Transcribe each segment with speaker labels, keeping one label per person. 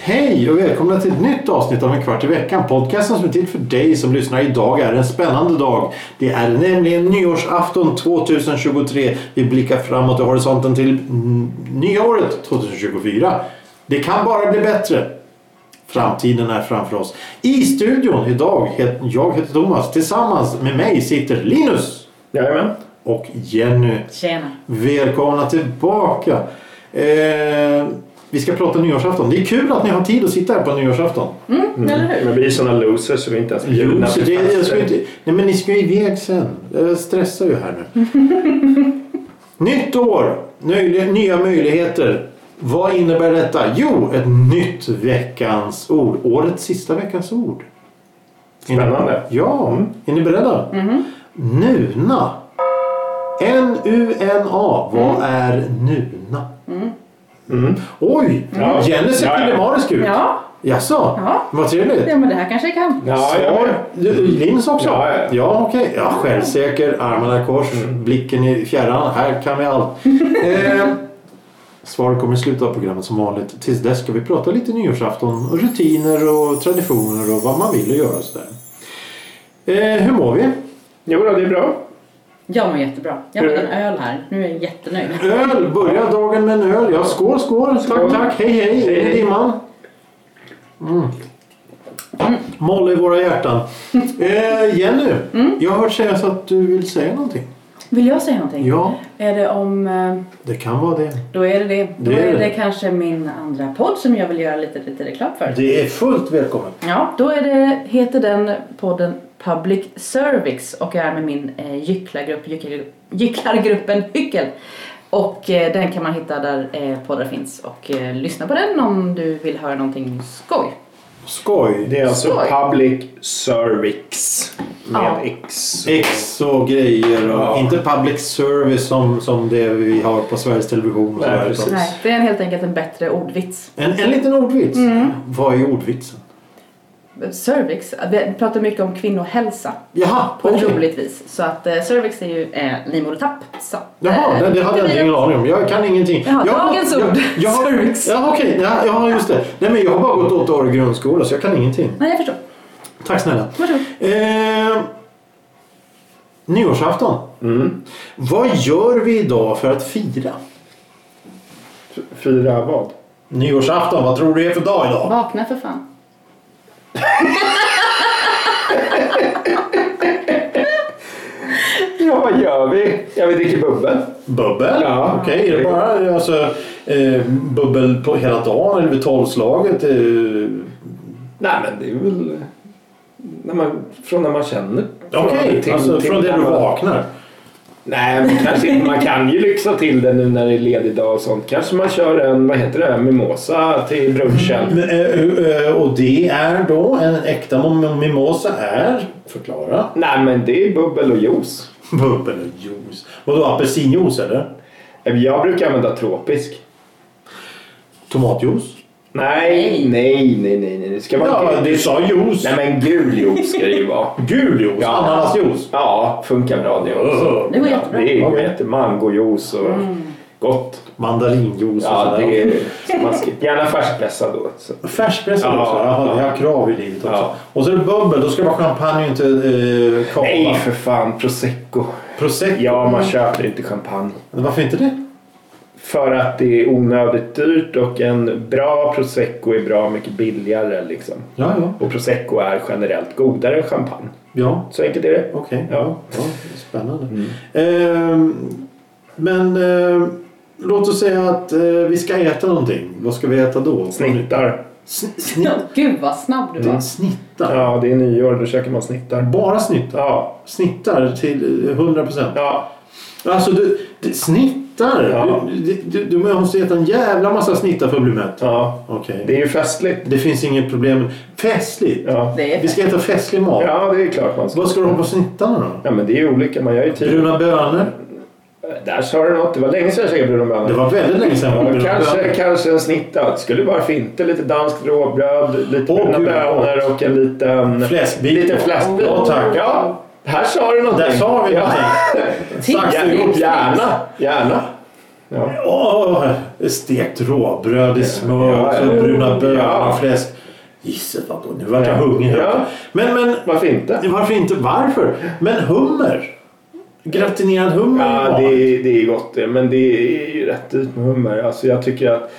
Speaker 1: Hej och välkomna till ett nytt avsnitt av En kvart i veckan. Podcasten som är till för dig som lyssnar. Idag är en spännande dag. Det är nämligen nyårsafton 2023. Vi blickar framåt i horisonten till mm, nya året 2024. Det kan bara bli bättre. Framtiden är framför oss. I studion idag, het- jag heter Thomas. Tillsammans med mig sitter Linus
Speaker 2: Jajamän.
Speaker 1: och Jenny.
Speaker 3: Tjena.
Speaker 1: Välkomna tillbaka! Eh, vi ska prata nyårsafton. Det är kul att ni har tid att sitta här på nyårsafton.
Speaker 3: Eller hur?
Speaker 2: Mm. Men vi är sådana losers så vi inte ens
Speaker 1: Jo,
Speaker 2: bjudna
Speaker 1: så
Speaker 2: till
Speaker 1: det, jag
Speaker 2: festen.
Speaker 1: ska ju inte, nej men ni ska ju iväg sen. Jag stressar ju här nu. nytt år! Ny, nya möjligheter. Vad innebär detta? Jo, ett nytt veckans ord. Årets sista veckans ord. Är ni-
Speaker 2: Spännande. Mm.
Speaker 1: Ja, är ni beredda?
Speaker 3: Mm-hmm.
Speaker 1: Nuna. N-U-N-A.
Speaker 3: Mm.
Speaker 1: Vad är nuna? Oj!
Speaker 2: Ja.
Speaker 1: Jenny ser
Speaker 2: Mm. Ja, ja.
Speaker 1: pillemarisk ut.
Speaker 3: Mm. Ja.
Speaker 1: Jaså?
Speaker 3: Ja.
Speaker 1: Vad trevligt.
Speaker 3: ja, men det här kanske jag kan.
Speaker 2: Ja, jag
Speaker 1: Svar?
Speaker 2: med.
Speaker 1: Du, Linus också?
Speaker 2: Ja, ja. Mm.
Speaker 1: okej. Ja, självsäker, armarna i kors, blicken i fjärran. Här kan vi allt. eh, svar kommer i slutet av programmet som vanligt. Tills dess ska vi prata lite nyårsafton och rutiner och traditioner och vad man vill och göra och sådär. Eh, hur mår vi?
Speaker 2: Jo då, det är bra.
Speaker 3: Jag mår jättebra. Jag har en öl här. Nu är jag jättenöjd.
Speaker 1: Öl! Börja dagen med en öl. Ja, skål, skål! Tack,
Speaker 2: Skål.
Speaker 1: tack! Hej, hej!
Speaker 2: Hej,
Speaker 1: hej.
Speaker 2: hej.
Speaker 1: dimman. Mm. Moll i våra hjärtan. Eh, Jenny, jag har hört sägas att du vill säga någonting.
Speaker 3: Vill jag säga någonting?
Speaker 1: Ja,
Speaker 3: Är det om... eh,
Speaker 1: det kan vara det.
Speaker 3: Då är det det. Då
Speaker 1: Det är
Speaker 3: är
Speaker 1: det.
Speaker 3: det kanske min andra podd som jag vill göra lite, lite reklam för.
Speaker 1: Det är fullt välkommen.
Speaker 3: Ja, då är det, heter den podden Public Service och jag är med min eh, gycklargrupp, gycklargrupp- gycklargruppen Hyckel. Och eh, den kan man hitta där eh, poddar finns och eh, lyssna på den om du vill höra någonting skoj.
Speaker 1: Skoj.
Speaker 2: Det är alltså
Speaker 3: Skoj.
Speaker 2: public service med
Speaker 3: Ja.
Speaker 2: X.
Speaker 1: Ex och grejer. Och
Speaker 2: Ja.
Speaker 1: Inte public service som, som det vi har på Sveriges Television. Och
Speaker 2: Nej,
Speaker 1: sådär,
Speaker 2: precis.
Speaker 1: utan-
Speaker 3: Nej, det är helt enkelt en bättre ordvits.
Speaker 1: en, en liten ordvits. Vad är ordvitsen?
Speaker 3: Cervix, vi pratar mycket om kvinnohälsa
Speaker 1: Jaha,
Speaker 3: på ett
Speaker 1: okej.
Speaker 3: roligt vis. Så att eh, cervix är ju eh, livmodertapp. Så att,
Speaker 1: Jaha,
Speaker 3: eh,
Speaker 1: det, det hade jag
Speaker 3: blir-
Speaker 1: ingen aning om. Jag kan ingenting.
Speaker 3: Jaha,
Speaker 1: jag,
Speaker 3: dagens
Speaker 1: jag,
Speaker 3: ord.
Speaker 1: Jag, jag,
Speaker 3: Cervix.
Speaker 1: ja, okej. Ja, ja, just det. Nej, men jag har bara gått åtta år i grundskola så jag kan ingenting.
Speaker 3: Nej, jag förstår.
Speaker 1: Tack snälla.
Speaker 3: Varsågod.
Speaker 1: Eh, nyårsafton.
Speaker 2: Mm.
Speaker 1: Vad gör vi idag för att fira?
Speaker 2: Fyra vad?
Speaker 1: Nyårsafton, vad tror du det är för dag idag?
Speaker 3: Vakna för fan.
Speaker 2: Ja, vad gör vi? Ja, vi dricker bubbel.
Speaker 1: Bubbel?
Speaker 2: Ja.
Speaker 1: Okej, är det bara alltså, eh, bubbel på hela dagen eller vid tolvslaget? Eh,
Speaker 2: Nej, men det är väl när man, från när man känner.
Speaker 1: Okej,
Speaker 2: till-
Speaker 1: alltså
Speaker 2: till
Speaker 1: från det
Speaker 2: när
Speaker 1: du
Speaker 2: man-
Speaker 1: vaknar.
Speaker 2: Nej, men kanske inte. Man kan ju lyxa till det nu när det är ledig dag och sånt. Kanske man kör en, vad heter det, mimosa till brunchen.
Speaker 1: Men, eh, eh, Och det är då en äkta mom- mimosa är? Förklara.
Speaker 2: Nej, men det är bubbel och juice.
Speaker 1: Bubbel och juice. Vadå apelsinjuice eller?
Speaker 2: Jag brukar använda tropisk.
Speaker 1: Tomatjuice?
Speaker 2: Nej, nej, nej, nej. nej. Det ska vara
Speaker 1: Ja,
Speaker 2: gul.
Speaker 1: du sa juice.
Speaker 2: Nej, men gul juice ska det ju vara.
Speaker 1: Gul juice?
Speaker 2: Ja.
Speaker 1: Ananasjuice?
Speaker 2: Ja, funkar bra det också.
Speaker 3: Det går
Speaker 2: ja,
Speaker 3: jättebra. Mm.
Speaker 2: det går
Speaker 1: Okej.
Speaker 2: jättebra. Mangojuice och gott.
Speaker 1: Mandarinjuice och
Speaker 2: Ja,
Speaker 1: sådär.
Speaker 2: det är smaskigt. Gärna färskpressad då. Så.
Speaker 1: Färskpressad
Speaker 2: Ja.
Speaker 1: också? Jaha, det har krav i livet också.
Speaker 2: Ja.
Speaker 1: Och så är det bubbel, då ska det vara champagne och inte eh, kava.
Speaker 2: Nej, för fan. Prosecco.
Speaker 1: Prosecco?
Speaker 2: Ja,
Speaker 3: Mm.
Speaker 2: man köper inte champagne.
Speaker 1: Varför inte det?
Speaker 2: För att det är onödigt dyrt och en bra prosecco är bra mycket billigare. Liksom.
Speaker 1: Ja, ja.
Speaker 2: Och prosecco är generellt godare än champagne.
Speaker 1: Ja,
Speaker 2: Så enkelt är det.
Speaker 1: okej.
Speaker 2: Ja. Mm.
Speaker 1: Ja, spännande. Ehm, men eh, låt oss säga att eh, vi ska äta någonting. Vad ska vi äta då?
Speaker 2: Snittar.
Speaker 1: Sn-
Speaker 3: Ja,
Speaker 1: snitt.
Speaker 3: Gud vad snabb du
Speaker 1: Det är
Speaker 3: var.
Speaker 1: snittar.
Speaker 2: Ja, det är nyår. Då käkar man snittar.
Speaker 1: Bara snittar.
Speaker 2: Ja,
Speaker 1: Snittar till eh, 100 procent.
Speaker 2: ja.
Speaker 1: Alltså, du, du snittar?
Speaker 2: Ja.
Speaker 1: Du, du, du måste äta en jävla massa snittar för att bli mätt.
Speaker 2: ja.
Speaker 1: Okej.
Speaker 2: Det är ju festligt.
Speaker 1: Det finns inget problem. Festligt!
Speaker 2: Ja.
Speaker 3: Det är
Speaker 1: Vi ska äta festlig mat.
Speaker 2: ja, det är klart man ska.
Speaker 1: Vad ska du ha på snittarna då?
Speaker 2: Ja, men det är ju olika. Man gör ju typ...
Speaker 1: Bruna bönor?
Speaker 2: Nej, där sa du något. Det var länge sedan jag käkade bröd och
Speaker 1: Det
Speaker 2: bönor.
Speaker 1: var väldigt länge sedan.
Speaker 2: Ja,
Speaker 1: vi gjorde
Speaker 2: Kanske,
Speaker 1: den.
Speaker 2: kanske en snittad. Skulle vara fint. Lite danskt råbröd, lite
Speaker 1: Åh,
Speaker 2: bruna
Speaker 1: gud,
Speaker 2: bönor och en liten...
Speaker 1: Fläskbit.
Speaker 2: Lite fläskbit.
Speaker 1: Ja, tack.
Speaker 2: Ja, här sa du någonting.
Speaker 1: Där sa vi
Speaker 2: ja.
Speaker 1: någonting.
Speaker 3: Tips,
Speaker 1: Sax ihop.
Speaker 3: tips, tips.
Speaker 2: Gärna, gärna. Ja.
Speaker 1: Åh, stekt råbröd i smör
Speaker 2: Ja,
Speaker 1: och så
Speaker 2: ja.
Speaker 1: bruna bönor
Speaker 2: Ja.
Speaker 1: och fläsk. Gisset vad gott. Nu vart jag
Speaker 2: Ja.
Speaker 1: hungrig.
Speaker 2: Ja.
Speaker 1: Men, men
Speaker 2: Varför inte?
Speaker 1: varför inte? Varför? Men hummer? Gratinerad hummer
Speaker 2: Ja,
Speaker 1: är
Speaker 2: det
Speaker 1: bra.
Speaker 2: är, det är gott det. Men det är ju rätt dyrt med hummer. Alltså jag tycker att...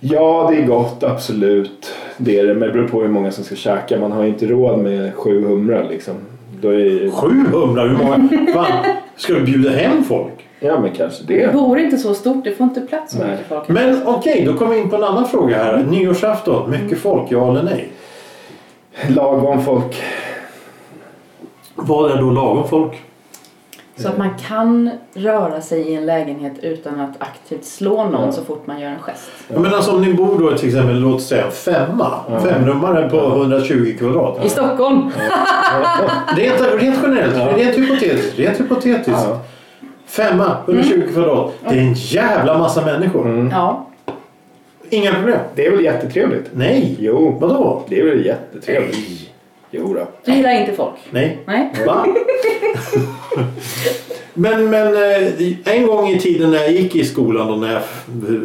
Speaker 2: Ja, det är gott, absolut. Det är det. Men det beror på hur många som ska käka. Man har ju inte råd med sju humrar liksom. Då är ju...
Speaker 1: Sju humrar? Hur många? Fan, ska du bjuda hem folk?
Speaker 2: Ja, men kanske
Speaker 3: Det
Speaker 2: det.
Speaker 3: bor inte så stort, det får inte plats så
Speaker 2: Nej.
Speaker 3: mycket folk.
Speaker 1: Men okej, då kommer vi in på en annan fråga här. Nyårsafton, mycket folk, ja eller nej?
Speaker 2: Lagom folk.
Speaker 1: Vad är då lagom folk?
Speaker 3: Så att man kan röra sig i en lägenhet utan att aktivt slå någon så fort man gör en gest.
Speaker 1: Ja. Men alltså om ni bor då till exempel, låt säga en femma.
Speaker 2: Ja.
Speaker 1: Femrummare på 120 kvadrat.
Speaker 3: I Stockholm!
Speaker 1: Rent, rent generellt,
Speaker 2: Ja.
Speaker 1: rent hypotetiskt. Rent hypotetiskt.
Speaker 2: Ja. Mm.
Speaker 1: Femma, 120 kvadrat. Det är en jävla massa människor.
Speaker 3: Ja.
Speaker 1: Inga problem.
Speaker 2: Det är väl jättetrevligt?
Speaker 1: Nej.
Speaker 2: Jo,
Speaker 1: Vadå?
Speaker 2: det är väl jättetrevligt. Jo då.
Speaker 3: Du gillar inte folk?
Speaker 1: Nej.
Speaker 3: Nej.
Speaker 1: Va? men, men eh, en gång i tiden när jag gick i skolan då när jag,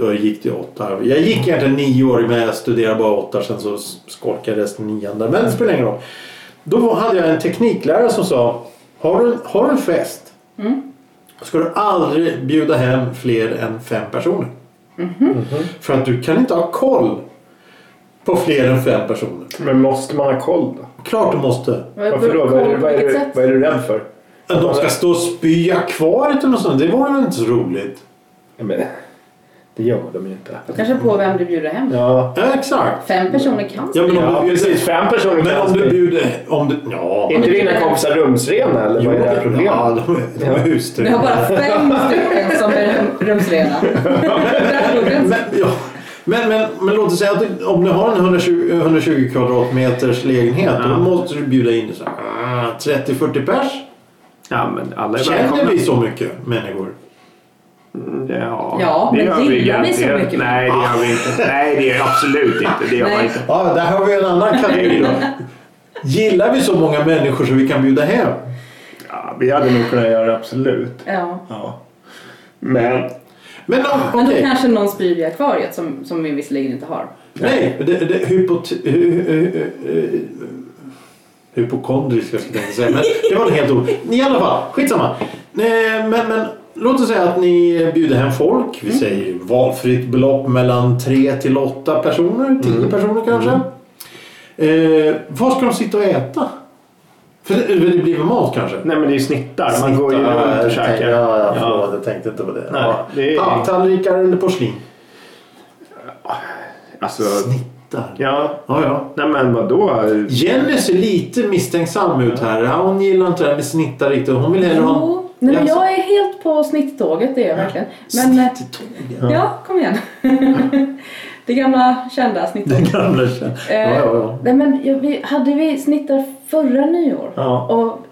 Speaker 1: jag gick till åtta. Jag gick egentligen nio år men jag studerade bara åtta sen så skolkade jag resten nian där. Men det spelar ingen roll. Då hade jag en tekniklärare som sa Har du, har du en fest ska du aldrig bjuda hem fler än fem personer. För att du kan inte ha koll på fler än fem personer.
Speaker 2: Men måste man ha koll då?
Speaker 1: Klart du måste.
Speaker 2: Varför då? Vad är, du- vad, är du, vad är du rädd för?
Speaker 1: Att de ska stå och spya kvar eller något sånt. Det vore väl inte så roligt?
Speaker 2: Ja, men, det gör de ju inte.
Speaker 3: Kanske på vem du bjuder hem.
Speaker 2: Ja,
Speaker 1: Ja, exakt.
Speaker 3: Fem personer kan
Speaker 1: Ja, men om
Speaker 2: ja
Speaker 1: du bjuder...
Speaker 2: precis. Fem personer
Speaker 1: Men om
Speaker 2: kanske.
Speaker 1: du bjuder... Om du... Ja.
Speaker 2: Är inte dina kompisar rumsrena eller
Speaker 1: Jo,
Speaker 2: vad är det här problemet?
Speaker 1: ja, de, de är
Speaker 3: Vi har
Speaker 1: husdrivna.
Speaker 3: bara fem stycken som är rum- rumsrena. Där tog den.
Speaker 1: Men, ja. men, men, men låt oss säga att du- om du har en 120, 120 kvadratmeters lägenhet då måste du bjuda in så här, ah, 30-40 pers.
Speaker 2: Ja, men alla är
Speaker 1: Känner
Speaker 2: välkomna.
Speaker 1: vi så mycket människor?
Speaker 2: Ja,
Speaker 3: Ja,
Speaker 2: det
Speaker 3: men
Speaker 2: gör vi
Speaker 3: gillar vi så
Speaker 2: garanterat.
Speaker 3: mycket?
Speaker 2: Nej, det gör vi inte. Nej, det gör vi absolut inte. Det gör
Speaker 3: Nej.
Speaker 2: man inte.
Speaker 1: Ja, där har vi en annan kategori då. Gillar vi så många människor så vi kan bjuda hem?
Speaker 2: Ja, vi hade nog kunnat göra det, absolut.
Speaker 3: Ja.
Speaker 2: Ja. Men...
Speaker 1: Men ja,
Speaker 3: Men då
Speaker 1: okej.
Speaker 3: kanske någon sprider i akvariet som, som vi visserligen inte har.
Speaker 1: Nej, det, det, hypot... hu- hu- hu- hu- Hypokondriska skulle jag inte säga, men det var ett helt ord. I alla fall, skitsamma. Nej, Men, men låt oss säga att ni bjuder hem folk. Vi säger valfritt belopp mellan 3 till 8 personer, 10 personer kanske. Eh, vad ska de sitta och äta? För det, det blir väl mat kanske?
Speaker 2: Nej, men det är ju snittar. Man går ju
Speaker 1: Snittar,
Speaker 2: runt och
Speaker 1: jag
Speaker 2: käkar.
Speaker 1: tänkte- Ja, ja,
Speaker 2: Ja.
Speaker 1: förlåt, jag tänkte inte på det.
Speaker 2: Nej,
Speaker 1: Ja.
Speaker 2: det är-
Speaker 1: Papptallrikar eller porslin?
Speaker 2: Alltså,
Speaker 1: Snittar.
Speaker 2: ja.
Speaker 1: Ja, ja.
Speaker 2: Nej, men vadå?
Speaker 1: Jenny ser lite misstänksam ut här. Ja, hon gillar inte det här med snittar riktigt. Hon vill hellre ha...
Speaker 3: Jo, nej, men jag är helt på snitttåget, det är jag verkligen. Men, eh,
Speaker 1: Snittetågen.
Speaker 3: ja, kom igen. Det gamla kända
Speaker 1: Den
Speaker 3: snitttåget. Eh,
Speaker 1: gamla tjejen. Ja, ja, ja.
Speaker 3: Nej, men ja, vi, hade vi snittar förra nyår?
Speaker 2: Ja.
Speaker 3: Och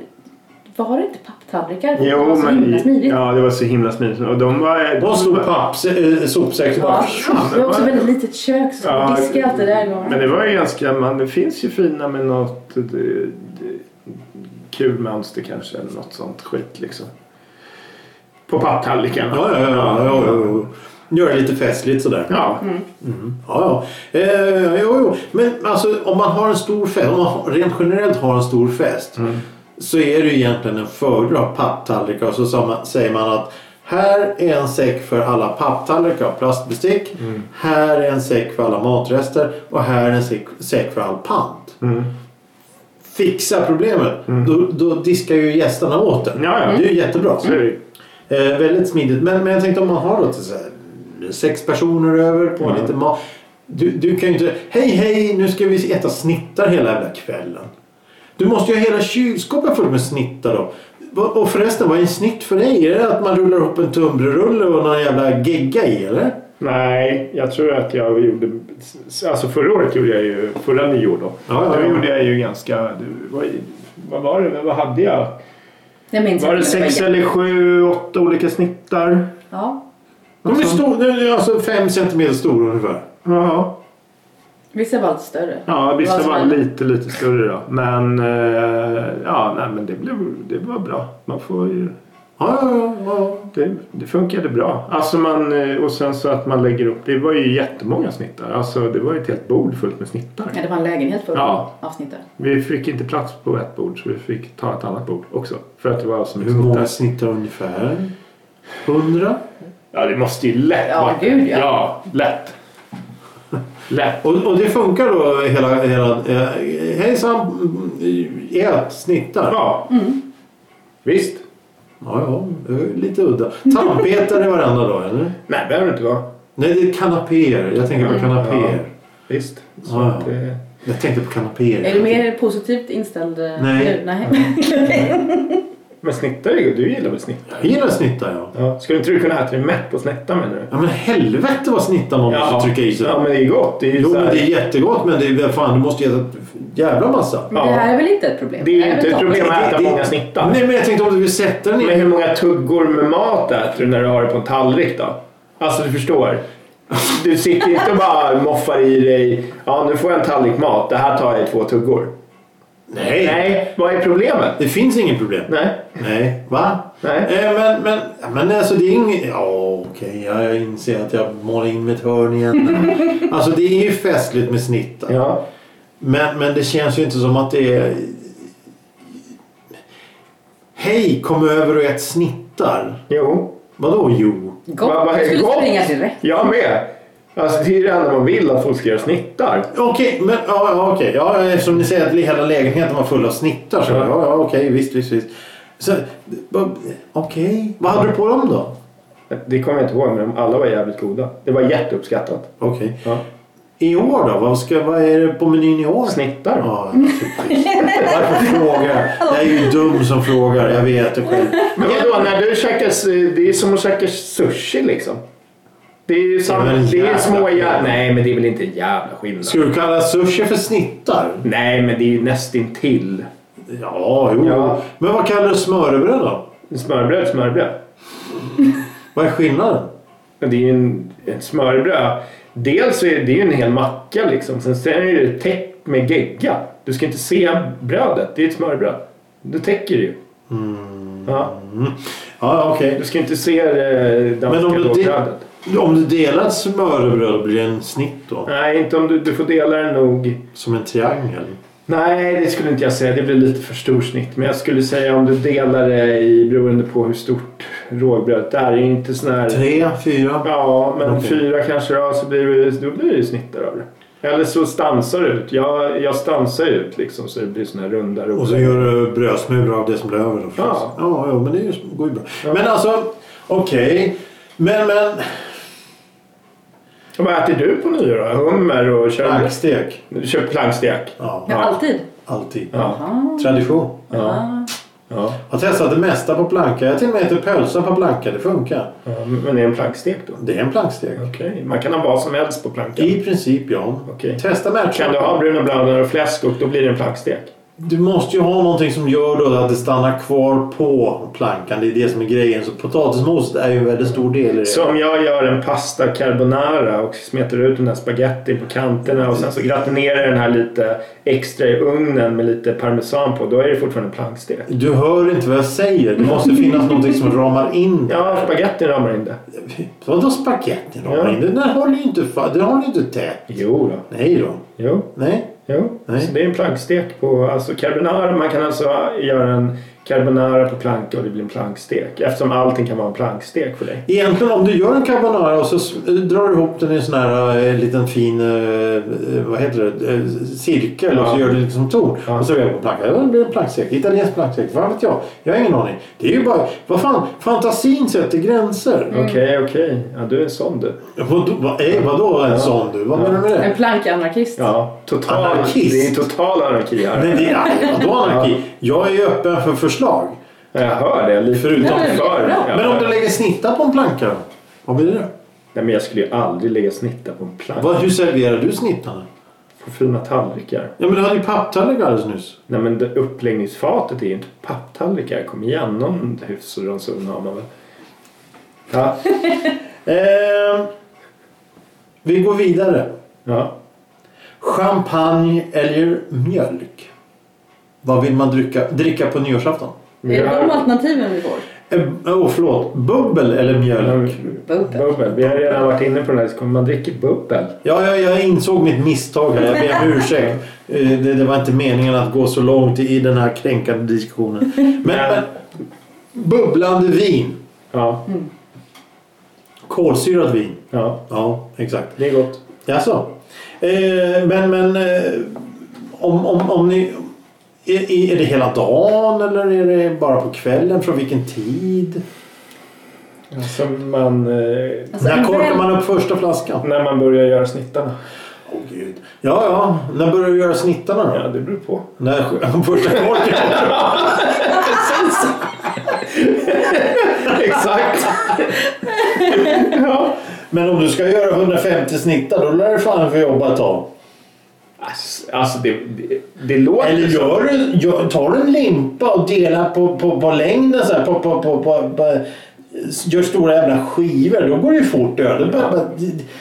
Speaker 3: var det inte papptallrikar? Det
Speaker 2: Jo,
Speaker 3: var så himla
Speaker 2: men...
Speaker 3: smidigt.
Speaker 2: Ja, det var så himla smidigt. Och de var...
Speaker 1: Hon slog papps, äh, sopsäck.
Speaker 3: Ja.
Speaker 1: Ja.
Speaker 3: Det var också ett väldigt litet kök så
Speaker 2: Ja,
Speaker 3: ja, diskade alltid där igång.
Speaker 2: Men det var ju ganska, man, det finns ju fina med något det, det, kul mönster kanske eller något sånt skit liksom. På papptallriken.
Speaker 1: Ja, ja, ja, ja, ja, ja, ja. Gör det lite festligt sådär. Ja,
Speaker 2: Ja.
Speaker 3: Mm.
Speaker 1: ja. Eh, jo, jo. Men alltså om man har en stor fest, om man har- rent generellt har en stor fest.
Speaker 2: Mm.
Speaker 1: Så är det ju egentligen en fördel att ha papptallrikar. Och så sa man- säger man att här är en säck för alla papptallrikar och plastbestick.
Speaker 2: Mm.
Speaker 1: Här är en säck för alla matrester. Och här är en säck, säck för all pant.
Speaker 2: Mm.
Speaker 1: Fixa problemet. Då, då diskar ju gästerna åt det.
Speaker 2: Ja, ja.
Speaker 1: Det är ju jättebra.
Speaker 2: Så är det ju.
Speaker 1: Eh, väldigt smidigt. Men, men jag tänkte om man har då till så här, sex personer över på
Speaker 2: Ja.
Speaker 1: lite mat. Du, du kan ju inte... Hej, hej, nu ska vi äta snittar hela jävla kvällen. Du måste ju ha hela kylskåpet fullt med snittar då. Va- Och förresten, vad är en snitt för dig? Är det att man rullar upp en tunnbrödsrulle och någon jävla gegga i eller?
Speaker 2: Nej, jag tror att jag gjorde... Alltså förra året gjorde jag ju... Förra nyår då.
Speaker 1: Ja, ja,
Speaker 2: då
Speaker 1: ja.
Speaker 2: gjorde jag ju ganska... det var ju- Vad var det? Vad hade jag?
Speaker 3: Jag minns
Speaker 2: Var det
Speaker 3: inte, men
Speaker 2: sex
Speaker 3: jä-
Speaker 2: eller sju, åtta olika snittar?
Speaker 3: Ja,
Speaker 1: De är stor, de är alltså fem centimeter stora ungefär.
Speaker 2: Ja,
Speaker 3: vissa var lite större.
Speaker 2: ja vissa
Speaker 3: Vad som
Speaker 2: var
Speaker 3: hände?
Speaker 2: lite, lite större då. Men, eh, ja, nej, men det, blev, det var bra. Man får ju...
Speaker 1: Ja, ja, ja.
Speaker 2: Det, det funkade bra. Alltså man, eh, och sen så att man lägger upp. Det var ju jättemånga snittar. Alltså det var ju ett helt bord fullt med snittar.
Speaker 3: Ja, det var en lägenhet full
Speaker 2: Ja.
Speaker 3: av snittar.
Speaker 2: Vi fick inte plats på ett bord så vi fick ta ett annat bord också. För att det var så mycket
Speaker 1: Hur många
Speaker 2: snittar.
Speaker 1: snittar ungefär? Hundra?
Speaker 2: Ja det måste ju lätt
Speaker 3: Ja,
Speaker 2: vara-
Speaker 3: gud, ja.
Speaker 2: ja, lätt. Lätt.
Speaker 1: Och, och det funkar då hela... hela eh, hejsan, mm, ät snittar. Ja,
Speaker 2: Ja.
Speaker 3: Mm.
Speaker 2: Visst.
Speaker 1: ja, det är lite udda. Tandpetare varenda dag, eller?
Speaker 2: Nej, behöver det inte vara.
Speaker 1: Nej, det är kanapéer. Jag
Speaker 2: Mm.
Speaker 1: tänker på kanapéer.
Speaker 2: Visst. Så
Speaker 1: Ja, ja.
Speaker 2: att eh, det...
Speaker 1: Jag tänkte på kanapéer.
Speaker 3: Är du mer positivt inställd eh,
Speaker 1: Nej.
Speaker 3: nu? Nej.
Speaker 2: Men snittar är ju- Du gillar väl snittar?
Speaker 1: Jag gillar snittar, ja.
Speaker 2: Ja. Skulle inte du kunna äta dig mätt på snittar menar du?
Speaker 1: Ja, men helvete vad snittar man måste trycka i sig.
Speaker 2: Ja, men det är gott. Det är ju
Speaker 1: Jo,
Speaker 2: så
Speaker 1: men
Speaker 2: här-
Speaker 1: det är jättegott, men det är, fan, du måste äta ett jävla massa.
Speaker 3: Men det här är väl inte ett problem?
Speaker 2: Det är ju
Speaker 3: väl
Speaker 2: inte ett
Speaker 3: toppen.
Speaker 2: problem att äta
Speaker 1: Det-
Speaker 2: många snittar.
Speaker 1: Nej, men jag tänkte om du vill sätta den
Speaker 2: Men
Speaker 1: i...
Speaker 2: hur många tuggor med mat äter du när du har det på en tallrik då? Alltså du förstår. Du sitter inte och bara moffar i dig. Ja, nu får jag en tallrik mat. Det här tar jag i två tuggor.
Speaker 1: Nej.
Speaker 2: Nej, vad är problemet?
Speaker 1: Det finns inget problem.
Speaker 2: Nej.
Speaker 1: Nej, va?
Speaker 2: Nej.
Speaker 1: Eh, men, men, men alltså det är inget... Ja, okej, jag inser att jag målar in mitt hörn igen. alltså det är ju festligt med snittar.
Speaker 2: Ja.
Speaker 1: Men, men det känns ju inte som att det är... Hej, kom över och ät snittar.
Speaker 2: Jo.
Speaker 1: Vadå jo?
Speaker 3: Gott.
Speaker 2: Vad- vad är
Speaker 3: Jag skulle
Speaker 2: gott?
Speaker 3: springa direkt.
Speaker 2: Jag med. Alltså det är ju det enda man vill att folk ska göra snittar.
Speaker 1: Okej, men ja, ja, okej. Ja, eftersom ni säger att hela lägenheten var full av snittar så ja,
Speaker 2: Ja.
Speaker 1: ja okej, visst, visst, visst. Så, vad- Okej, vad hade du på dem då?
Speaker 2: Det kommer jag inte ihåg men de- alla var jävligt goda. Det var jätteuppskattat.
Speaker 1: Okej.
Speaker 2: Ja.
Speaker 1: I år då? Vad, ska, vad är det på menyn i år?
Speaker 2: Snittar.
Speaker 1: Ja, typiskt. Varför frågar? Jag är ju dum som frågar. Jag vet det själv.
Speaker 2: Men vadå, när du käkar, s- det är som att käka sushi liksom. Det är ju samma,
Speaker 1: Det är väl en
Speaker 2: det är
Speaker 1: jävla
Speaker 2: små jävla...
Speaker 1: skillnad.
Speaker 2: Nej, men det är väl inte en jävla skillnad.
Speaker 1: Ska du kalla sushi för snittar?
Speaker 2: Nej, men det är ju nästintill.
Speaker 1: Ja, jo.
Speaker 2: Ja.
Speaker 1: Men vad kallar du smörrebröd då?
Speaker 2: Smörbröd, smörbröd.
Speaker 1: Vad är skillnaden?
Speaker 2: Men det är ju en, ett smörbröd. Dels så är det ju en hel macka liksom. Sen, sen är det ju täckt med gegga. Du ska inte se brödet. Det är ett smörbröd. Du täcker det ju.
Speaker 1: Mm.
Speaker 2: Ja.
Speaker 1: Ja, okej.
Speaker 2: Du ska inte se det
Speaker 1: Men
Speaker 2: danska
Speaker 1: om du, de,
Speaker 2: brödet.
Speaker 1: om du delar ett smörrebröd blir det en snitt då?
Speaker 2: Nej, inte om du, du får dela det nog.
Speaker 1: Som en triangel?
Speaker 2: Nej, det skulle inte jag säga. Det blir lite för stor snitt. Men jag skulle säga om du delar det i beroende på hur stort rågbrödet är. Det är ju inte sån här...
Speaker 1: Tre, fyra?
Speaker 2: Ja, men
Speaker 1: Okej.
Speaker 2: fyra kanske då, så blir det, då blir det ju snittar av det. Eller så stansar det ut. Jag, jag stansar ut liksom så det blir såna här runda
Speaker 1: Och så
Speaker 2: rågbröd.
Speaker 1: gör du brödsmulor av det som blir över då förstås.
Speaker 2: Ja.
Speaker 1: Ja, ja, men det är ju- går ju bra. Men alltså, okej. Men, men.
Speaker 2: Vad äter du på nyår då? Hummer och kör,
Speaker 1: Plankstek.
Speaker 2: kör plankstek?
Speaker 1: Ja,
Speaker 3: Ja, alltid.
Speaker 1: alltid.
Speaker 2: Ja.
Speaker 1: Tradition.
Speaker 2: Ja. Ja.
Speaker 1: Jag har testat det mesta på planka. Jag har till och med ätit pölsa på planka. Det funkar.
Speaker 2: ja. Men är det en plankstek då?
Speaker 1: Det är en plankstek.
Speaker 2: Okej, man kan ha vad som helst på plankan.
Speaker 1: I princip ja.
Speaker 2: Okej.
Speaker 1: Testa med
Speaker 2: Kan du ha bruna blandningar och fläsk och då blir det en plankstek?
Speaker 1: Du måste ju ha någonting som gör då att det stannar kvar på plankan. Det är det som är grejen. Så potatismoset är ju en väldigt stor del i det.
Speaker 2: Så om jag gör en pasta carbonara och smetar ut den här spagettin på kanterna och sen så gratinerar jag den här lite extra i ugnen med lite parmesan på, då är det fortfarande en plankstek.
Speaker 1: Du hör inte vad jag säger. Det måste finnas någonting som ramar in det.
Speaker 2: Ja, spagettin ramar in det.
Speaker 1: Vadå spagetti ramar
Speaker 2: Ja.
Speaker 1: in? Den där håller ju inte, fa- den håller ju inte tät.
Speaker 2: Jo då.
Speaker 1: Nej då.
Speaker 2: Jo.
Speaker 1: Nej.
Speaker 2: Jo.
Speaker 1: Nej.
Speaker 2: Så det är en plankstek på... Alltså carbonara, man kan alltså göra en carbonara på planka och det blir en plankstek. Eftersom allting kan vara en plankstek för dig.
Speaker 1: Egentligen om du gör en carbonara och så s- drar du ihop den i en sån här eh, liten fin eh, eh, vad heter det? Eh, cirkel och så
Speaker 2: Ja.
Speaker 1: gör du lite som torn.
Speaker 2: Ja.
Speaker 1: Och så är det på planka. Ja, Det blir en plankstek. Italiensk plankstek. Vad vet jag? Jag har ingen aning. Det är ju bara... Vad fan? Fantasin sätter gränser.
Speaker 2: Okej, okej. Ja, du är en sån du.
Speaker 1: Vadå? Vad, eh, vadå en sån du? Vad menar du med
Speaker 3: Ah, En
Speaker 1: det?
Speaker 3: plankanarkist.
Speaker 2: Ja. Total,
Speaker 1: Anarkist.
Speaker 2: Det är en total anarki här.
Speaker 1: Nej, det är, nej, vadå anarki?
Speaker 2: Ja.
Speaker 1: Jag är öppen för förslag.
Speaker 2: Ja, Jag hör det. Lite
Speaker 1: Förutom
Speaker 2: utanför.
Speaker 3: för.
Speaker 2: Ja.
Speaker 1: Men om du lägger snittar på en planka då? Vad blir det?
Speaker 2: Nej, men jag skulle ju aldrig lägga snittar på en plank.
Speaker 1: Vad, hur serverar du snittarna?
Speaker 2: på fina tallrikar.
Speaker 1: Ja, men du hade ju papptallrikar alldeles nyss.
Speaker 2: Nej men det, uppläggningsfatet är ju inte papptallrikar. Kom igen, någon hyfs och ranson har man väl. Ja,
Speaker 1: Eh, vi går vidare.
Speaker 2: ja.
Speaker 1: Champagne eller mjölk? Vad vill man dricka, dricka på nyårsafton?
Speaker 2: Men
Speaker 3: Är
Speaker 2: jag
Speaker 3: det
Speaker 2: har-
Speaker 3: de alternativen vi får?
Speaker 1: Eh, oh, förlåt, bubbel eller mjölk?
Speaker 3: Bubbel.
Speaker 2: Bubbel. Vi har redan varit inne på den här. så Kommer man dricka bubbel?
Speaker 1: Ja, jag, jag insåg mitt misstag här. Jag ber om ursäkt. Eh, Det, det var inte meningen att gå så långt i den här kränkande diskussionen. Men, men bubblande vin.
Speaker 2: Ja,
Speaker 1: Kolsyrat vin.
Speaker 2: ja.
Speaker 1: Ja, exakt.
Speaker 2: Det är gott.
Speaker 1: Jaså? Eh, men men eh, om, om, om ni... Är, är det hela dagen eller är det bara på kvällen? Från vilken tid?
Speaker 2: Alltså man... Eh,
Speaker 3: Alltså,
Speaker 1: när
Speaker 3: en
Speaker 1: korkar
Speaker 3: väl-
Speaker 1: man upp första flaskan?
Speaker 2: när man börjar göra snittarna.
Speaker 1: Åh gud. Ja, ja. När börjar du göra snittarna då?
Speaker 2: Ja, det beror på.
Speaker 1: När första korken?
Speaker 2: Exakt! ja.
Speaker 1: Men om du ska göra 150 snittar då lär du fan få jobba ett tag.
Speaker 2: Alltså, alltså det, det, det låter...
Speaker 1: Eller gör du, gör, tar du en limpa och delar på, på, på längden så här, på, på, på, på, på, Gör stora jävla skivor. Då går det ju fort över. Bara- bara-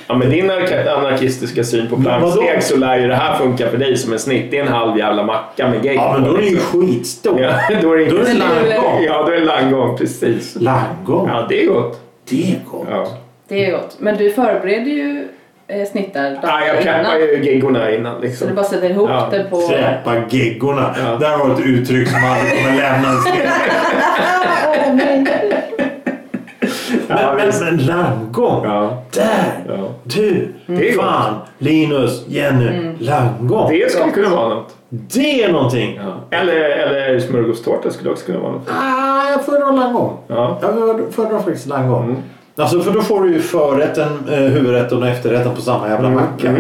Speaker 2: Ja, men din anarka- anarkistiska syn på
Speaker 1: vadå?
Speaker 2: planksteg så lär ju det här funka för dig som en snitt. Det är en halv jävla macka med gegg
Speaker 1: Ja, men då är det ju
Speaker 2: liksom.
Speaker 1: skitstor.
Speaker 2: Ja, då är det,
Speaker 1: Då är det langgång.
Speaker 2: Ja, då är det langgång. Precis.
Speaker 1: Langgång?
Speaker 2: Ja, det är gott.
Speaker 1: Det är gott.
Speaker 2: Ja.
Speaker 3: Det är gott. Men du förbereder ju eh, snittar
Speaker 2: Ja, jag peppar ju geggorna innan.
Speaker 3: Så du
Speaker 2: Liksom.
Speaker 3: bara sätter ihop
Speaker 2: Ja.
Speaker 3: det på...
Speaker 1: Släpa geggorna.
Speaker 2: Ja.
Speaker 1: Där har du ett uttryck som aldrig kommer lämnas.
Speaker 3: Åh, nej.
Speaker 2: Ja,
Speaker 1: Men, men,
Speaker 2: visst.
Speaker 1: men langgång.
Speaker 2: Ja,
Speaker 1: Där!
Speaker 2: ja.
Speaker 1: Du!
Speaker 2: Det är gott.
Speaker 1: Fan! Linus, Jenny, langgång. Det...
Speaker 2: Det skulle kunna vara något.
Speaker 1: är någonting.
Speaker 2: Eller, eller smörgåstårta skulle också kunna vara något.
Speaker 1: Ah, jag föredrar langgång.
Speaker 2: Ja. Mm.
Speaker 1: Jag föredrar- föredrar faktiskt langgång. Alltså, för då får du ju förrätten, eh, huvudrätten och efterrätten på samma jävla
Speaker 2: Mm.
Speaker 1: macka.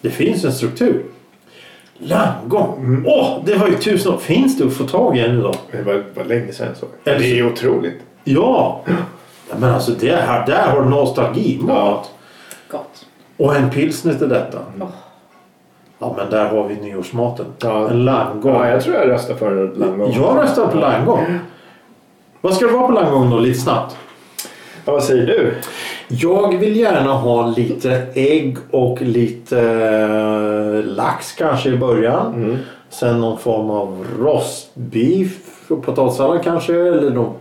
Speaker 1: Det finns en struktur. Langgång. Åh,
Speaker 2: Mm.
Speaker 1: det var ju tusen år. Finns det att få tag i än idag?
Speaker 2: Det var, var länge sedan så.
Speaker 1: Eller så-
Speaker 2: ju otroligt.
Speaker 1: Ja! Ja, Men alltså det här, där har du nostalgimat.
Speaker 3: Gott.
Speaker 1: Och en pilsner till detta.
Speaker 3: Åh.
Speaker 1: Ja men där har vi nyårsmaten.
Speaker 2: Oh. Ja.
Speaker 1: En langgång.
Speaker 2: Ja, jag tror jag röstar för langgång.
Speaker 1: Jag röstar på langgång. Vad ska det vara på langgång då, lite snabbt?
Speaker 2: Ja, vad säger du?
Speaker 1: Jag vill gärna ha lite ägg och lite eh, lax kanske i början.
Speaker 2: Mm.
Speaker 1: Sen någon form av rostbeef och potatissallad kanske. Eller någon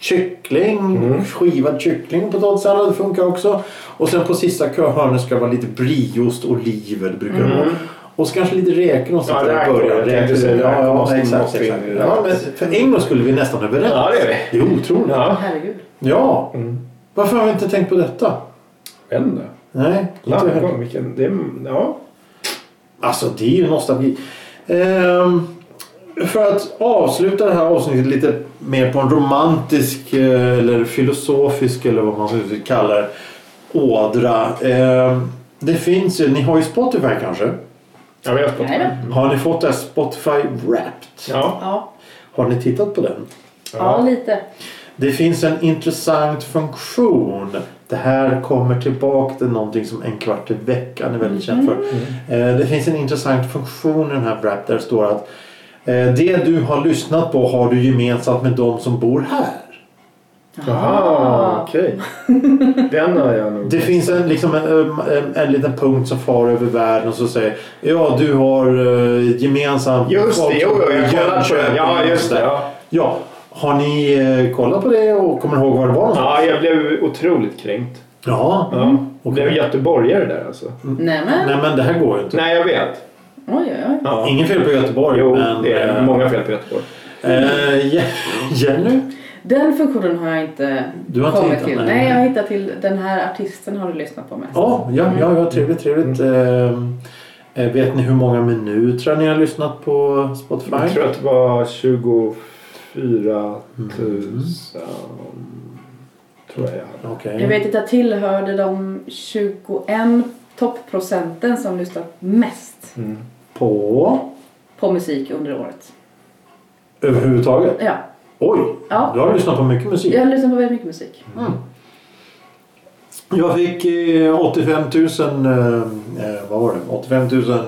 Speaker 1: kyckling.
Speaker 2: Mm.
Speaker 1: Skivad kyckling och potatissallad funkar också. Och sen på sista hörnet ska det vara lite brieost, oliver det brukar det vara. Och så kanske lite räkor någonstans
Speaker 2: Mm. Ja,
Speaker 1: där i
Speaker 2: räkor.
Speaker 1: början.
Speaker 2: Jag tänkte säga
Speaker 1: ja,
Speaker 2: räkor
Speaker 1: ja,
Speaker 2: måste
Speaker 1: exakt.
Speaker 2: måste in i
Speaker 1: exakt.
Speaker 2: det.
Speaker 1: Ja, men för en gång skulle vi nästan överens.
Speaker 2: Ja, det är vi.
Speaker 1: Det är otroligt.
Speaker 2: Ja. Mm.
Speaker 3: Herregud.
Speaker 1: Ja. Varför har vi inte tänkt på detta?
Speaker 2: Jag vet inte.
Speaker 1: Nej. inte heller.
Speaker 2: Langgång, vilken... Det, är- ja.
Speaker 1: Alltså det är ju nostalgi. Ehm, för att avsluta det här avsnittet lite mer på en romantisk eh, eller filosofisk eller vad man vill kalla det ådra. Ehm, det finns ju, ni har ju Spotify kanske?
Speaker 2: Ja, vi har spottat.
Speaker 3: Nej
Speaker 1: Har ni fått det här Spotify Wrapped?
Speaker 2: Ja.
Speaker 3: Ja.
Speaker 1: Har ni tittat på den?
Speaker 3: ja, lite.
Speaker 1: Det finns en intressant funktion. Det här kommer tillbaka till någonting som en kvart i veckan är väldigt känd för.
Speaker 2: Mm.
Speaker 1: Eh, Det finns en intressant funktion i den här Wrap där det står att eh, det du har lyssnat på har du gemensamt med de som bor här.
Speaker 3: Ah.
Speaker 2: Jaha, okej. Den har jag nog.
Speaker 1: Det finns en, liksom en, en, en liten punkt som far över världen och så säger ja du har eh, gemensamt
Speaker 2: Just det,
Speaker 1: folk
Speaker 2: jo,
Speaker 1: som
Speaker 2: jo,
Speaker 1: bor i
Speaker 2: jag kollar på den.
Speaker 1: Jönköping
Speaker 2: Ja,
Speaker 1: och
Speaker 2: just det.
Speaker 1: sådär.
Speaker 2: Ja.
Speaker 1: Ja, har ni eh, kollat på det och kommer ni ihåg var det var någonstans?
Speaker 2: ja, jag blev otroligt kränkt.
Speaker 1: Ja.
Speaker 2: Ja. Mm. Och blev göteborgare där alltså.
Speaker 3: Nej men.
Speaker 1: Nej men det här går ju inte.
Speaker 2: Nej, jag vet.
Speaker 3: Oj, oj, oj.
Speaker 2: Ja.
Speaker 1: Ingen fel på Göteborg.
Speaker 2: Jo,
Speaker 1: men,
Speaker 2: det är
Speaker 1: eh,
Speaker 2: många fel på Göteborg.
Speaker 1: eh, Je- Jenny?
Speaker 3: Den funktionen har jag inte
Speaker 1: Du har inte
Speaker 3: kommit
Speaker 1: hittat
Speaker 3: till.
Speaker 1: den?
Speaker 3: Nej, jag har hittat till den här artisten har du lyssnat på mest.
Speaker 1: Ja, ja, ja, ja trevligt, trevligt.
Speaker 3: Mm.
Speaker 1: Eh, eh, vet ni hur många minuter ni har lyssnat på Spotify?
Speaker 2: Jag tror att det var 24 000. Tror jag jag hade.
Speaker 1: Okej.
Speaker 3: Jag vet att jag tillhörde de 21 topprocenten som lyssnar mest
Speaker 1: Mm. På?
Speaker 3: på musik under året.
Speaker 1: Överhuvudtaget?
Speaker 3: Ja,
Speaker 1: Oj!
Speaker 3: Ja.
Speaker 1: Du har lyssnat på mycket musik.
Speaker 3: jag lyssnar på väldigt mycket musik.
Speaker 1: Mm. Jag fick eh, 85 000... Eh, eh, vad var det? 85 000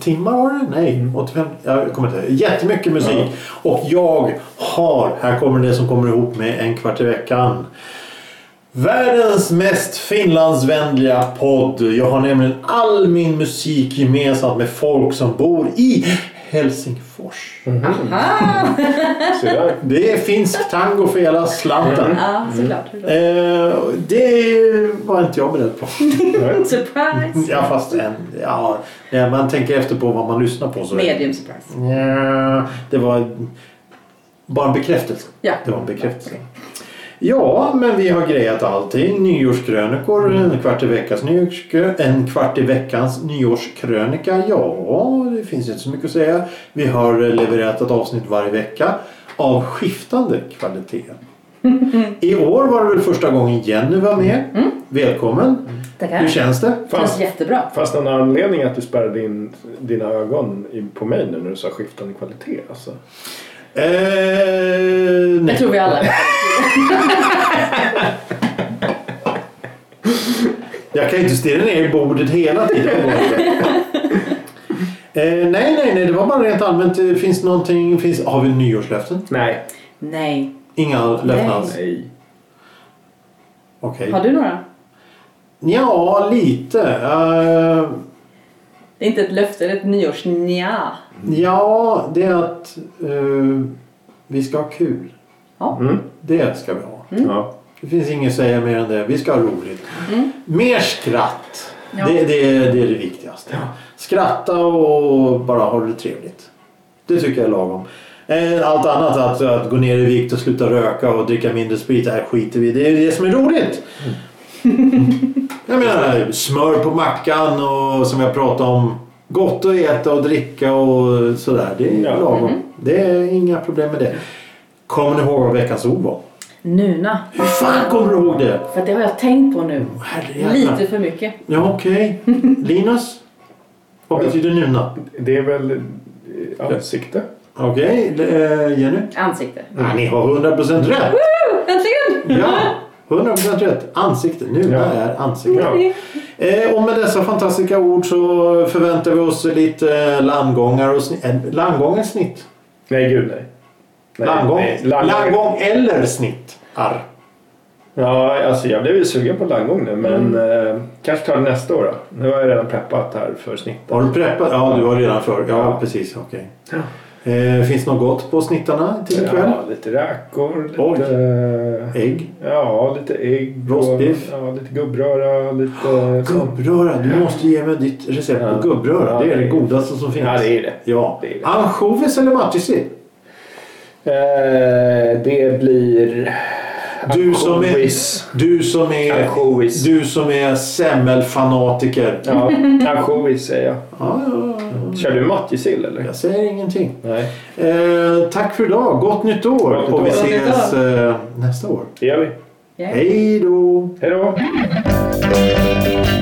Speaker 1: timmar var det? Nej, 85? Jag kommer inte ihåg. Jättemycket musik. Och jag har, här kommer det som kommer ihop med en kvart i veckan. Världens mest finlandsvänliga podd. Jag har nämligen all min musik gemensamt med folk som bor i Helsingfors.
Speaker 3: Aha!
Speaker 2: Så där.
Speaker 1: Det är finsk tango för hela slanten.
Speaker 3: Ja, såklart.
Speaker 1: Eh, det var inte jag beredd på.
Speaker 3: Surprise!
Speaker 1: Ja, fast en, ja, när man tänker efter på vad man lyssnar på så...
Speaker 3: Medium surprise.
Speaker 1: Nja, det var bara en bekräftelse.
Speaker 3: Ja.
Speaker 1: Det var en bekräftelse. Ja, men vi har grejat allting. Nyårskrönikor,
Speaker 3: Mm.
Speaker 1: en kvart i veckans nyårskrö... en kvart i veckans nyårskrönika. Ja, det finns inte så mycket att säga. Vi har levererat ett avsnitt varje vecka av skiftande kvalitet. I år var det väl första gången Jenny var med. Välkommen!
Speaker 3: Mm. Tackar.
Speaker 1: Hur känns det?
Speaker 3: Det känns jättebra.
Speaker 2: Fast någon anledning att du spärrade in dina ögon i, på mig nu när du sa skiftande kvalitet alltså.
Speaker 1: Eh,
Speaker 3: Jag
Speaker 1: nej.
Speaker 3: tror vi alla
Speaker 1: Jag kan ju inte stirra ner i bordet hela tiden. eh, nej, nej, nej. Det var bara rent allmänt. eh, Finns någonting... Finns, har vi nyårslöften?
Speaker 2: Nej.
Speaker 3: Nej.
Speaker 1: Inga löften
Speaker 3: Nej.
Speaker 1: alls?
Speaker 2: Nej.
Speaker 1: Okej.
Speaker 3: Har du några?
Speaker 1: Ja, lite. Eh,
Speaker 3: Det är inte ett löfte, det är ett nyårs nja.
Speaker 1: ja, det är att eh, vi ska ha kul.
Speaker 3: Ja.
Speaker 2: Mm.
Speaker 1: Det ska vi ha.
Speaker 2: Ja.
Speaker 1: Det finns inget att säga mer än det. Vi ska ha roligt. Mer skratt.
Speaker 3: Ja.
Speaker 1: Det, det, det är det viktigaste. Skratta och bara ha det trevligt. Det tycker jag är lagom. Eh, Allt annat, att, att gå ner i vikt och sluta röka och dricka mindre sprit, det här skiter vi i. Det är det som är roligt. jag menar, smör på mackan och som jag pratade om. Gott att äta och dricka och sådär. Det är
Speaker 2: Ja.
Speaker 1: lagom. Det är inga problem med det. Kommer ni ihåg vad veckans ord var?
Speaker 3: Nuna.
Speaker 1: Hur fan kommer du ihåg det?
Speaker 3: För det har jag tänkt på nu.
Speaker 1: Herrejävlar.
Speaker 3: Lite för mycket.
Speaker 1: Ja, okej. Linus? Vad betyder nuna?
Speaker 2: Det är väl eh, ansikte?
Speaker 1: Okej, eh, Jenny?
Speaker 3: Ansikte.
Speaker 1: Ah, ni har 100% rätt!
Speaker 3: Äntligen!
Speaker 1: Ja, 100% rätt. Ansikte. Nuna
Speaker 2: Ja.
Speaker 1: är ansikte.
Speaker 2: Ja.
Speaker 1: Eh, och med dessa fantastiska ord så förväntar vi oss lite eh, landgångar och snitt. Eh, landgångens snitt.
Speaker 2: Nej gud nej. nej
Speaker 1: Landgång.
Speaker 2: nej.
Speaker 1: Landgång eller snitt. Arr.
Speaker 2: Ja, alltså jag blev ju sugen på landgång nu men eh, kanske tar det nästa år då. Nu har jag redan preppat här för snittet.
Speaker 1: Har du preppat? Ja, du har redan för. Ja,
Speaker 2: Ja.
Speaker 1: precis. Okej. Eh, finns något gott på snittarna till ikväll?
Speaker 2: Ja, lite räkor, lite...
Speaker 1: Oj. Ägg?
Speaker 2: Ja, lite ägg. och-
Speaker 1: Rostbiff.
Speaker 2: Ja, lite gubbröra, lite sånt.
Speaker 1: Gubbröra, du måste ge mig ditt recept
Speaker 2: Ja.
Speaker 1: på gubbröra.
Speaker 2: Ja,
Speaker 1: det är det
Speaker 2: det-
Speaker 1: godaste som finns.
Speaker 2: Ja, det är det.
Speaker 1: Ja.
Speaker 2: Det är det.
Speaker 1: Ansjovis eller matjessill?
Speaker 2: Eh, det blir...
Speaker 1: Du som är,
Speaker 2: Ansjovis.
Speaker 1: du som är,
Speaker 2: Ansjovis.
Speaker 1: du som är semmelfanatiker. Ja.
Speaker 2: Ja, ansjovis säger jag.
Speaker 1: Ja, ja, ja.
Speaker 2: Kör du matjessill eller?
Speaker 1: Jag säger ingenting.
Speaker 2: Nej,
Speaker 1: Eh, tack för idag. Gott nytt år.
Speaker 2: Gott nytt
Speaker 1: Och vi
Speaker 2: år.
Speaker 3: Gott nytt
Speaker 1: ses eh, nästa år.
Speaker 2: det gör vi.
Speaker 3: Ja.
Speaker 1: Hej då!
Speaker 2: Hej då!